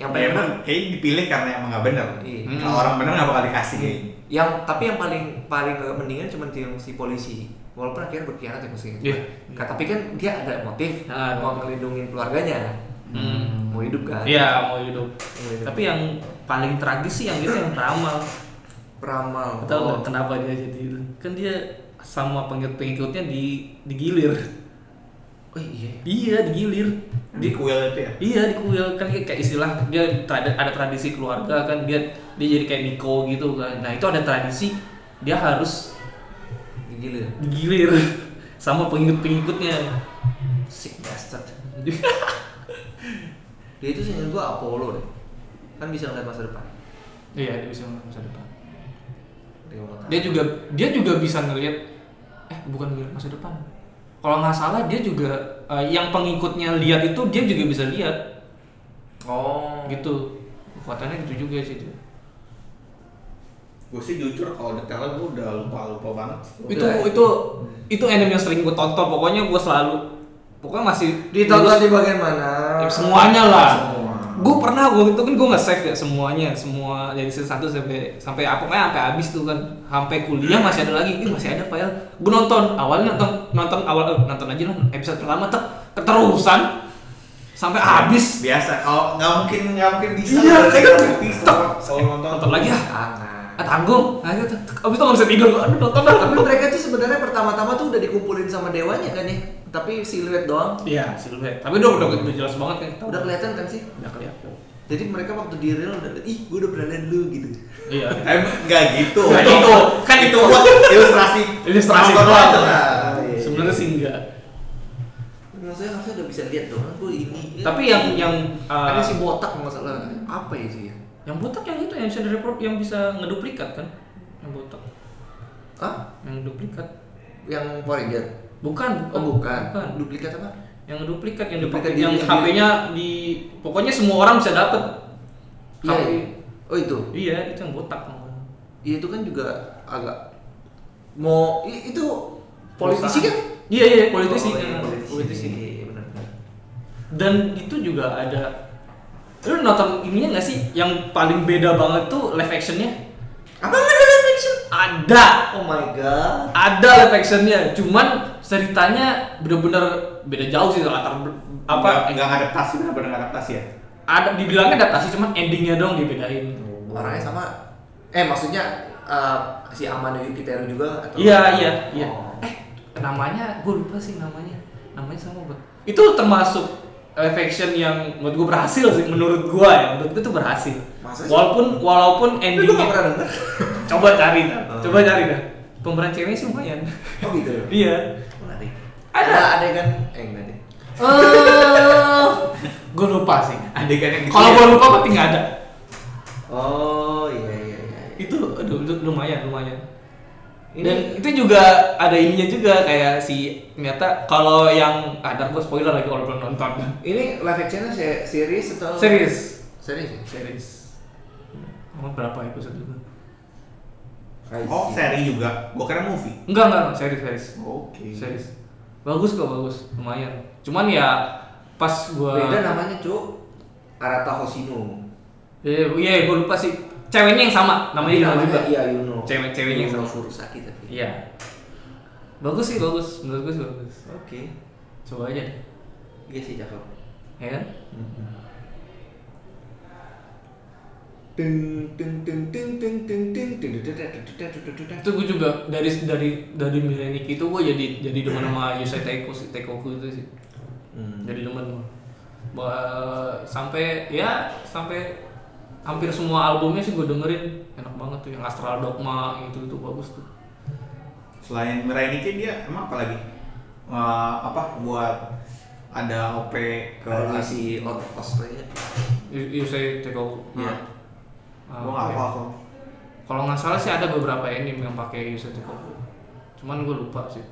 S3: yang
S4: Ya, emang kayaknya dipilih karena emang nggak bener.
S3: Iya.
S4: Hmm, Kalau orang bener nggak bakal dikasih.
S2: Iya.
S4: kayaknya.
S3: yang tapi yang paling paling agak mendingan cuma tim si polisi walaupun akhirnya berkhianat ya mesti
S2: Iya.
S3: Ka- tapi kan dia ada motif
S2: Ah, ada
S3: mau melindungi keluarganya
S2: Hmm.
S3: mau hidup kan
S2: iya mau hidup
S3: Mau hidup.
S2: tapi yang paling tragis sih yang itu yang ramal
S3: peramal
S2: Tahu
S3: Oh.
S2: nggak kenapa dia jadi itu? Kan dia sama pengikut-pengikutnya di digilir.
S3: oh iya
S2: Iya, digilir.
S4: Di
S1: Hmm.
S2: Di
S4: kuil itu ya.
S2: Iya, di kuil kan kayak kayak istilah dia trad- ada tradisi keluarga kan dia dia jadi kayak Miko gitu kan. Nah, itu ada tradisi dia harus
S3: digilir
S2: digilir *laughs* sama pengikut-pengikutnya.
S3: sick bastard dia itu sih gua Apollo deh kan bisa ngeliat masa depan
S2: *laughs* Iya, dia bisa melihat masa depan.
S3: dia mau
S2: Dia juga dia juga bisa ngelihat eh bukan ngelihat masa depan. Kalau nggak salah dia juga eh, yang pengikutnya lihat itu dia juga bisa lihat.
S3: oh
S2: gitu kekuatannya gitu juga sih dia
S1: Gue sih jujur kalau detailnya gue udah lupa-lupa banget sih.
S2: itu
S3: iya.
S2: itu itu anime yang sering gue tonton pokoknya gue selalu pokoknya masih
S3: Ditonton di bagian mana?
S2: Ya, semuanya lah
S1: Semua.
S2: gue pernah gue itu kan gue nggak save ya semuanya semua dari season 1 sampai sampai apa pokoknya sampai habis tuh kan sampai kuliah masih ada lagi Ih, masih ada file gue nonton awalnya nonton nonton awal eh, nonton aja lah episode pertama tuh keterusan sampai habis
S1: Biasa. Kalau nggak mungkin nggak mungkin bisa.
S2: Iya,
S1: kan.
S2: kan?
S1: Bisa. Kalau nonton.
S2: nonton lagi ah
S3: Tangan.
S2: ah, tanggung aja tuh abis itu nggak bisa tidur aduh nonton lah
S3: Tapi mereka tuh sebenarnya pertama-tama tuh udah dikumpulin sama dewanya kan ya. Tapi siluet doang.
S2: iya siluet tapi udah udah udah jelas banget kan kita
S3: Udah kelihatan kan sih?
S2: udah kelihatan
S3: Jadi mereka waktu di real udah ih gue udah berada dulu gitu.
S2: *laughs* iya
S1: Em Eh, nggak gitu.
S2: Nggak gitu. Kan itu buat
S1: ilustrasi.
S2: Ilustrasi
S1: Nonton
S2: doang.
S1: aja lah.
S2: sebenarnya sih enggak
S3: Maksudnya harusnya udah bisa lihat dong, gue ini.
S2: tapi yang yang uh,
S3: ada si botak nggak salah. Apa itu ya?
S2: yang botak yang itu yang bisa direpro yang bisa ngeduplikat kan yang botak
S3: Hah?
S2: yang duplikat
S3: Yang Power Ranger?
S2: bukan bukan
S3: Oh bukan.
S2: bukan
S3: Duplikat apa?
S2: yang duplikat yang
S3: Duplikat
S2: dipakai
S3: diri
S2: yang
S3: sendiri.
S2: HP-nya di pokoknya semua orang bisa dapet
S3: Iya.
S2: HP.
S3: iya. Oh itu.
S2: iya itu yang botak
S3: Iya itu kan juga agak mau i- itu politisi kan?
S2: iya iya politisi
S3: Oh,
S2: kan.
S3: iya,
S2: politisi
S3: Iya, benar.
S2: dan itu juga ada lu nonton ininya nggak sih yang paling beda banget tuh live actionnya
S3: Apa nggak ada live action?
S2: ada
S3: Oh my god.
S2: ada live actionnya cuman ceritanya bener-bener beda jauh sih latar ber- apa
S1: Nggak- Nggak adaptasi benar-benar nggak adaptasi ya.
S2: ada dibilangnya adaptasi cuman endingnya dong dibedain
S3: Oh. Orangnya sama. Eh maksudnya eh, si Amano Yuki Teru juga atau?
S2: iya iya iya
S3: Oh.
S2: eh namanya gue lupa sih namanya namanya sama gue itu termasuk live action yang menurut gue berhasil sih menurut gue ya menurut gue tuh berhasil
S3: Masa sih?
S2: walaupun walaupun
S3: Tapi gue nggak
S2: endingnya
S3: pernah denger.
S2: *laughs* coba cari dah
S3: Oh.
S2: coba cari dah pemeran ceweknya sih lumayan
S3: Oh gitu.
S2: iya
S3: Menarik.
S2: Ada.
S3: adegan eh enggak deh.
S2: *laughs* eh gue lupa sih
S1: Adegan yang gitu
S2: kalau
S1: ya.
S2: gue lupa pasti nggak ada
S3: Oh iya iya iya.
S2: itu aduh lu- lumayan lumayan
S3: Ini-
S2: dan itu juga ada ininya juga kayak si ternyata kalau yang ada gue spoiler lagi kalau belum nonton
S3: Ini live actionnya se- series atau?
S2: series
S3: Series. ya?
S2: series Emang berapa episode itu
S3: I
S1: Oh
S3: see.
S1: seri juga. Gue kira movie.
S2: enggak enggak enggak, series series
S1: Oke.
S2: series bagus kok bagus lumayan cuman ya pas gua
S3: Beda namanya cuk. Arata Hoshino.
S2: iya iya gue lupa sih ceweknya yang sama namanya Yuna juga
S3: Iya Yuno.
S2: Cewek-ceweknya
S3: Yuno
S2: sama.
S3: Furusaki tapi.
S2: iya bagus sih bagus menurut gue sih bagus
S3: Oke.
S2: coba aja deh.
S3: Iya sih cakep.
S2: ya kan
S3: Deng deng deng deng deng deng deng deng deng deng deng deng deng deng deng.
S2: itu gue juga dari dari dari Mileniki itu gue jadi jadi demen sama Yusei Teiko sih Teikoku itu sih
S3: Hmm.
S2: jadi demen gue Ba- sampai ya sampai hampir semua albumnya sih gue dengerin enak banget tuh yang Astral Dogma gitu itu bagus tuh
S1: Selain Mirai dia emang apa lagi? Eh, apa buat ada OP ke
S3: Kalau si Ot Australia.
S2: Y- Yusei Teikoku
S1: Iya.
S2: Ah,
S1: Gue nggak
S2: oke.
S1: hafal kok.
S2: kalau nggak salah sih ada beberapa anime yang pakai Yusei Teikoku cuman gue lupa sih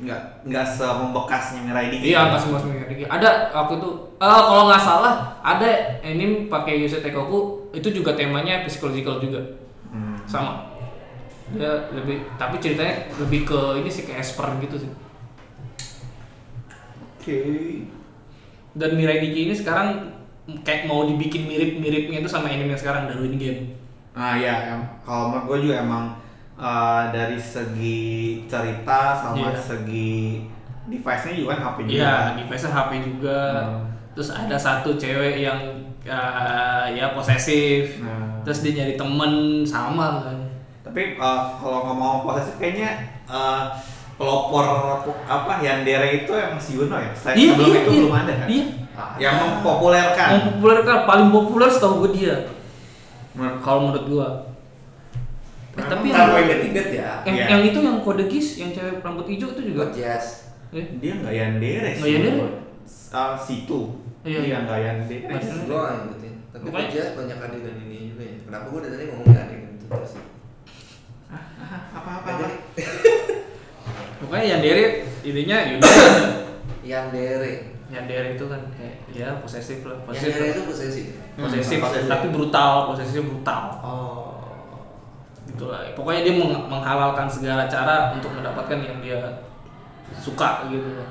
S1: Nggak nggak semembekasnya Mirai Nikki.
S2: Iya, nggak semua semua Diki. Ada waktu itu, eh, kalau nggak salah ada anime pakai Yusei Teikoku itu juga temanya psychological juga,
S1: Hmm.
S2: sama. Dia lebih, tapi ceritanya lebih ke ini sih ke esper gitu sih.
S1: Oke.
S2: Dan Mirai Nikki ini sekarang kayak mau dibikin mirip-miripnya itu sama anime yang sekarang The Ruin Game.
S1: Nah ya, em, kalau menurut gue juga emang eh, dari segi cerita sama
S2: Iya.
S1: segi device-nya juga kan HP juga.
S2: Iya, device HP juga.
S1: Hmm.
S2: Terus ada satu cewek yang eh, ya posesif.
S1: Nah.
S2: Terus dia nyari temen sama kan.
S1: Tapi eh, kalau ngomong posesif kayaknya eh, pelopor apa Yandere itu yang si Yuno ya. Saya
S2: Iya,
S1: sebelum
S2: iya,
S1: itu
S2: iya.
S1: belum ada kan.
S2: Iya.
S1: Ah, Yang mempopulerkan.
S2: Yang populer kan paling populer setahu gue dia.
S1: Menurut- Nah,
S2: Kalau menurut gua. Eh,
S1: Memang
S2: tapi yang,
S3: Kalau inget-inget ya.
S2: yang,
S1: Iya.
S2: yang itu yang kode gis, yang cewek rambut hijau itu juga.
S3: Buat jazz.
S2: Eh,
S1: Dia nggak Yandere
S2: Nggak Yandere?
S1: Ah, situ.
S2: Iya,
S1: Dia
S2: iya.
S1: nggak Yandere.
S2: Nggak Yandere.
S3: Gue gak ngikutin. Tapi
S2: Pokoknya-
S3: buat jazz banyak adegan ini juga ya. Kenapa gue dari tadi ngomongin adegan itu terus? sih?
S1: Apa-apa.
S3: Jadi
S2: Pokoknya yang dere idenya Yuna.
S1: *coughs*
S3: Yandere.
S2: yang dere itu kan kayak ya posesif lah, posesif.
S3: Yandere itu posesif.
S2: Posesif,
S1: Hmm, posesif.
S2: tapi brutal, posesifnya brutal.
S3: Oh.
S2: itulah Gitu pokoknya dia meng- menghalalkan segala cara untuk mendapatkan yang dia suka gitu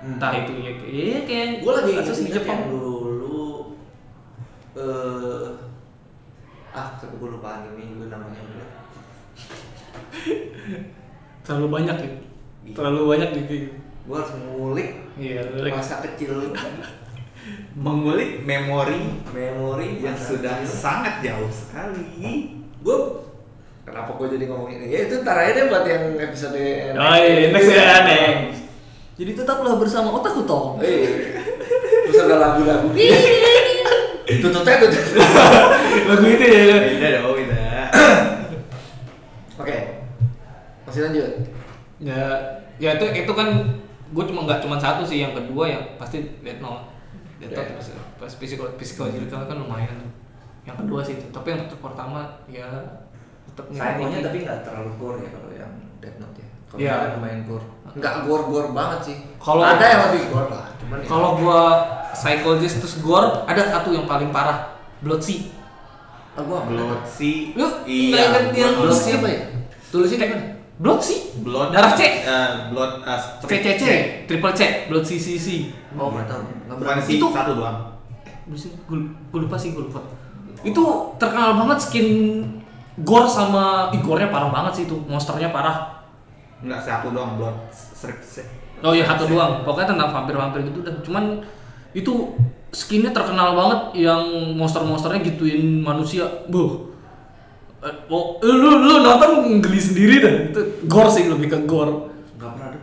S2: entah itu ya iya kayak
S3: gue lagi
S2: kasus di
S3: ingat yang
S2: Jepang
S3: dulu eh ah tapi gue lupa anime juga namanya ya. udah
S2: terlalu banyak ya
S3: Iya.
S2: terlalu banyak gitu
S3: gue harus mengulik
S2: iya
S3: masa kecil
S4: Mengulik memori
S3: memori
S4: yang sudah sangat jauh sekali.
S3: gue kenapa gue jadi ngomong ini ya itu ntar aja deh buat yang episode
S2: oh iya next ya aneh
S5: Jadi tetaplah bersama otakku tong.
S3: *laughs* iya terus ada
S2: *laughs*
S3: lagu-lagu tututnya tutut
S2: lagu itu ya
S4: Beda dong, beda.
S3: oke masih lanjut
S2: ya ya itu itu kan gue cuma nggak cuma satu sih yang kedua yang pasti Death Note Death Note
S3: Iya.
S2: pas, pas physical physical physical kan lumayan yang kedua sih itu tapi yang pertama ya tetap
S3: Sayangnya tapi nggak terlalu gore ya kalau yang Death Note ya kalau
S2: Iya.
S3: yang lumayan gore nggak gore gore banget sih
S2: Kalau-
S3: ada yang lebih gore lah cuman ya-
S2: Kalau gua psychologist terus gore, ada satu yang paling parah, Blood Sea.
S3: ah, gua nggak pernah.
S4: Blood si Iya,
S2: Lu nggak inget yang
S3: Iya, Blood
S2: Blood
S3: Sea
S2: Sea
S3: apa ya tulisnya
S2: Kayak-
S3: gimana
S2: Blood Sea?
S4: Blood
S2: Darah C.
S4: eh, blood uh, strip.
S2: CCC, triple C, Blood C C C.
S3: oh nggak tahu
S2: Iya.
S4: Bukan
S3: nggak pernah
S4: si
S2: Itu-
S4: satu doang.
S2: Blood Sea, gua- gua lupa sih, gua lupa. Itu terkenal banget skin gore sama ih, gore-nya parah banget sih itu, monsternya parah.
S4: Enggak satu doang, blood strip. C.
S2: Oh iya, satu doang. Pokoknya tentang vampir-vampir gitu udah. Cuman itu skinnya terkenal banget yang monster-monsternya gituin manusia. Buh. Eh, Oh, lu lu nonton geli sendiri dah. Itu gore sih lebih ke gore.
S3: nggak pernah ada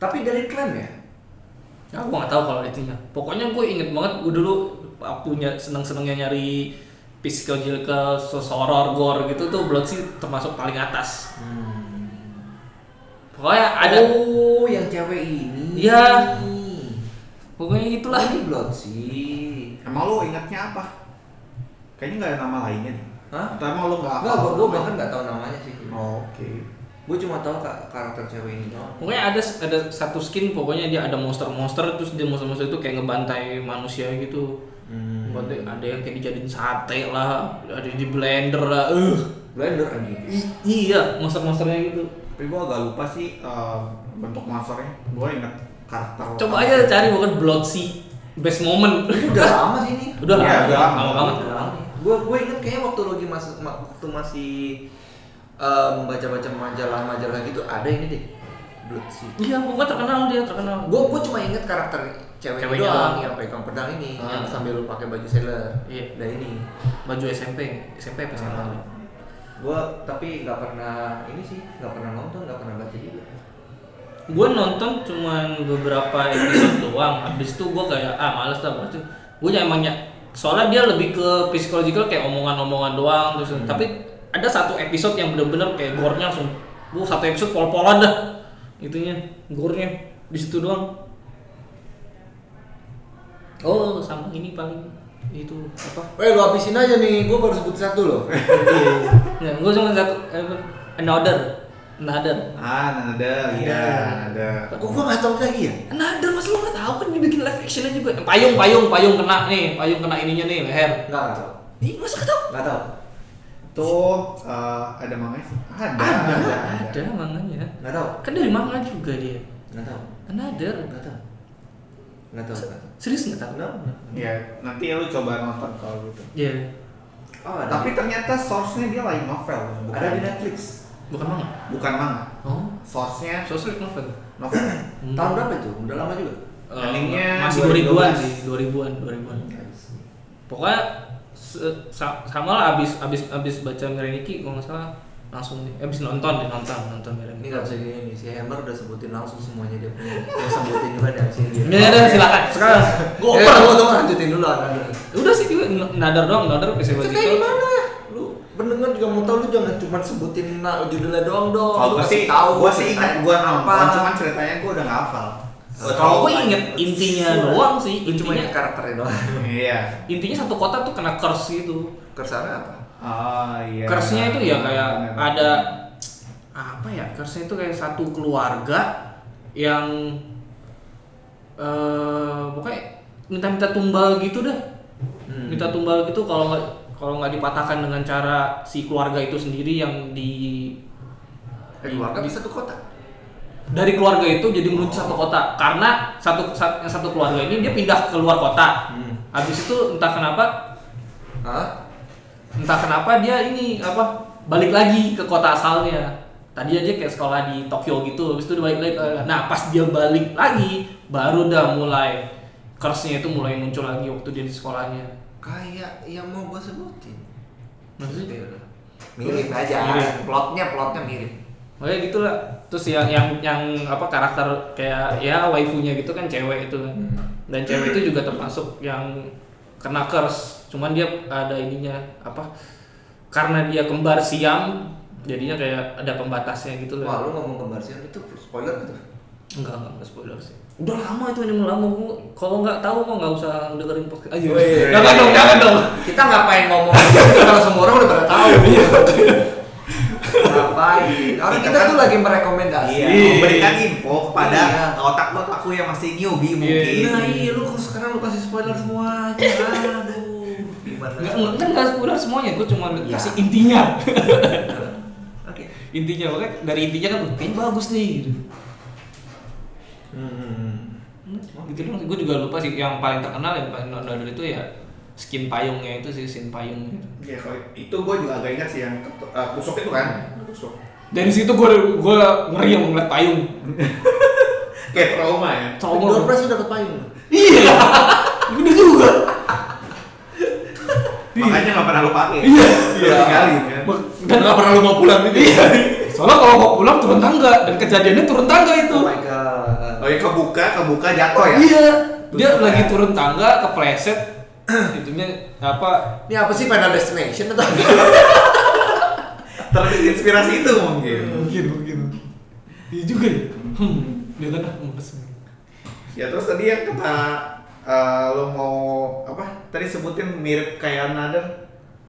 S3: tapi dari klaim ya
S2: Ya, aku nggak tahu kalau itunya. Pokoknya gue inget banget gue dulu waktunya seneng-senengnya nyari physical jil ke horror gore gitu tuh Blood sih termasuk paling atas. Pokoknya Hmm. ada
S3: oh yang cewek ini
S2: Iya. pokoknya itulah.
S3: ini blood sih
S4: Emang lu ingatnya apa? Kayaknya nggak ada nama lainnya nih.
S3: Hah?
S4: Atau emang lu
S2: Ah,
S4: nggak
S3: Enggak, gua, gua bahkan nggak tahu namanya sih.
S4: Oh, Oke.
S3: Gua cuma tahu kak karakter cewek ini doang.
S2: Pokoknya ada ada satu skin pokoknya dia ada monster-monster terus dia monster-monster itu kayak ngebantai manusia gitu.
S4: Hmm.
S2: Bantai- ada yang kayak dijadiin sate lah, ada yang di blender lah. Eh,
S3: Blender anjing.
S2: i- iya, monster-monsternya gitu.
S4: Tapi gua agak lupa sih eh, bentuk monsternya. Gua inget karakter.
S2: Coba aja cari bukan Blood Sea best moment. *laughs*
S3: Udah lama sih ini.
S2: Udah
S4: Iya,
S2: lah,
S4: udah lama.
S2: lama banget.
S3: Udah lama. Gua gua inget kayaknya waktu lagi masuk ma- waktu masih em, baca-baca majalah-majalah gitu ada ini deh. Blood sih.
S2: Iya, pokoknya terkenal dia, terkenal.
S3: Gua gua cuma inget karakter cewek ini
S2: Ceweknya
S3: doang
S2: doang.
S3: yang pegang pedang ini
S2: Ah.
S3: yang sambil pakai baju sailor.
S2: Iya.
S3: Nah ini.
S2: baju SMP, SMP apa SMA?
S3: Ah. Gua tapi nggak pernah ini sih, nggak pernah nonton, nggak pernah baca juga.
S2: Gue nonton cuman beberapa episode doang. Habis itu gue kayak ah males lah gua tuh. Gue emangnya soalnya dia lebih ke psychological kayak omongan-omongan doang terus tapi ada satu episode yang bener-bener kayak gore-nya langsung Wuh, satu episode pol-polan dah itunya gore-nya di situ doang oh sama ini paling itu apa
S3: Eh lu habisin aja nih, gua baru sebut satu loh.
S2: Ya, gue cuma satu eh, apa? another, another.
S4: Ah, ada, iya, ada.
S3: Kok *laughs* gua nggak tahu lagi ya?
S2: Another mas lu nggak tahu kan dibikin live actionnya juga. Payung, payung, payung kena nih, payung kena ininya nih leher.
S3: Enggak, enggak tahu.
S2: Ih, masa nggak tahu?
S3: Enggak tahu.
S4: Tuh eh, ada manganya sih. Ada, ada, ada.
S2: Ada manganya.
S3: Enggak tahu.
S2: Kan dari manga juga dia.
S3: Enggak tahu.
S2: Another.
S3: Enggak tahu. Enggak tahu. Enggak tahu.
S2: Serius nggak tahu?
S3: No.
S4: Ya, nanti lu coba nonton kalau gitu.
S2: Iya.
S3: Oh, ada.
S4: Tapi ternyata source-nya dia lain novel, bukan
S3: ada di Netflix.
S2: Bukan manga.
S4: bukan manga.
S2: Oh.
S4: Source-nya
S2: Sosial novel.
S4: novel.
S2: Hmm.
S3: Tahun berapa itu? Udah lama juga.
S2: Eh,
S4: Endingnya
S2: masih 2000-an
S4: 2012.
S2: sih, 2000-an, 2000-an.
S3: Hmm.
S2: Pokoknya se- sa- sama lah abis abis abis baca Mireniki kalau nggak salah langsung nih abis nonton deh nonton nonton
S3: Ini
S2: Mireniki.
S3: enggak bisa gini nih. Si Hammer udah sebutin langsung semuanya dia punya. *laughs* Dia sebutin juga dari sini.
S2: Ya udah silakan. Sekarang
S3: Goper.
S2: goper.
S3: Gua tunggu lanjutin dulu anak
S2: Ya Udah sih juga n- nadar doang, nadar ke gitu.
S3: Itu
S2: Sewa
S3: kayak
S2: Jiko.
S3: gimana? Lu pendengar juga mau tahu lu jangan cuma sebutin nah, judulnya doang dong.
S4: Kalau
S3: Lu
S4: gue
S3: kasih
S4: sih,
S3: tahu
S4: gue sih
S3: ceritanya
S4: ingat gue nonton,
S3: apa. Oh,
S4: cuman ceritanya gue udah nggak hafal.
S2: Kalau gue inget intinya doang sih,
S3: Lu cuma ingat
S2: intinya
S3: karakternya doang.
S4: Iya.
S2: intinya satu kota tuh kena curse gitu.
S3: Kesannya apa?
S4: Ah, iya.
S2: Curse-nya itu ya
S4: Bener.
S2: kayak ada apa ya? Curse-nya itu kayak satu keluarga yang eh pokoknya minta-minta tumbal gitu dah.
S3: Hmm.
S4: Hmm.
S2: Minta tumbal gitu kalau nggak kalau nggak dipatahkan dengan cara si keluarga itu sendiri yang di
S3: Eh, keluarga bisa satu kota.
S2: dari keluarga itu jadi menuju satu kota karena satu sat- satu keluarga ini dia pindah ke luar kota
S3: Hmm.
S2: habis itu entah kenapa
S3: Hah?
S2: entah kenapa dia ini apa balik lagi ke kota asalnya tadi aja kayak sekolah di Tokyo gitu habis itu dia balik lagi ke- nah pas dia balik lagi baru udah mulai curse-nya itu mulai muncul lagi waktu dia di sekolahnya
S3: Kayak yang mau gue sebutin.
S2: Maksudnya?
S3: Gitu. Mirip aja.
S2: Mirip.
S3: Plotnya plotnya mirip.
S2: Makanya gitu lah. Terus yang yang yang apa karakter kayak ya waifunya gitu kan cewek itu kan. Dan cewek itu juga termasuk yang kena curse. Cuman dia ada ininya apa? Karena dia kembar siam, jadinya kayak ada pembatasnya gitu
S3: Wah, lu
S2: loh.
S3: ngomong kembarsian itu spoiler
S2: *laughs*
S3: gitu.
S2: Enggak, enggak, enggak spoiler sih. Udah lama itu anime lama gua. Kalau nggak tahu mah nggak usah dengerin podcast aja.
S1: Wih.
S2: Jangan dong, jangan dong.
S3: Kita ngapain ngomong gitu kalau semua orang udah pada
S2: *laughs*
S3: tahu.
S2: Iya,
S3: ngapain? Orang kita tuh lagi merekomendasi.
S1: Iya,
S6: Iya.
S1: memberikan info kepada
S3: Iya.
S1: otak-otak aku yang masih newbie mungkin.
S2: Iya.
S3: Nah, iya lu kok sekarang lu kasih spoiler semua. Aduh. Gimana?
S2: Nggak, nggak- kan nggak spoiler semuanya. Gua cuma
S3: Iya.
S2: kasih *laughs* intinya.
S3: Oke.
S2: intinya makanya dari intinya kan "Wah, kayaknya bagus nih gitu. Hmm, gitu dong gue juga lupa sih yang paling terkenal yang paling nonton itu ya skin payungnya itu sih skin payung
S1: Iya, kalau itu gue juga agak ingat sih yang ketu- eh, kusuk itu kan. Kusuk.
S2: dari situ gue gue ngeri yang ngeliat payung
S1: Kayak trauma ya.
S7: Door
S2: trauma
S7: prize udah payung.
S2: iya *laughs* gede juga
S1: Makanya nggak pernah lo pakai. Iya. Kali kan.
S2: dan gak pernah lu mau pulang gitu soalnya kalau mau pulang turun tangga dan kejadiannya turun tangga itu
S3: Oh my god.
S1: Oh, ya kebuka, kebuka jatuh ya.
S2: iya dia lagi turun tangga kepleset itunya apa
S3: Ini apa sih Final Destination atau?
S1: Terinspirasi itu mungkin.
S2: mungkin mungkin iya juga ya hmm dia kan ah, males
S1: Ya terus tadi yang kata eh, lo mau apa? Tadi sebutin mirip kayak another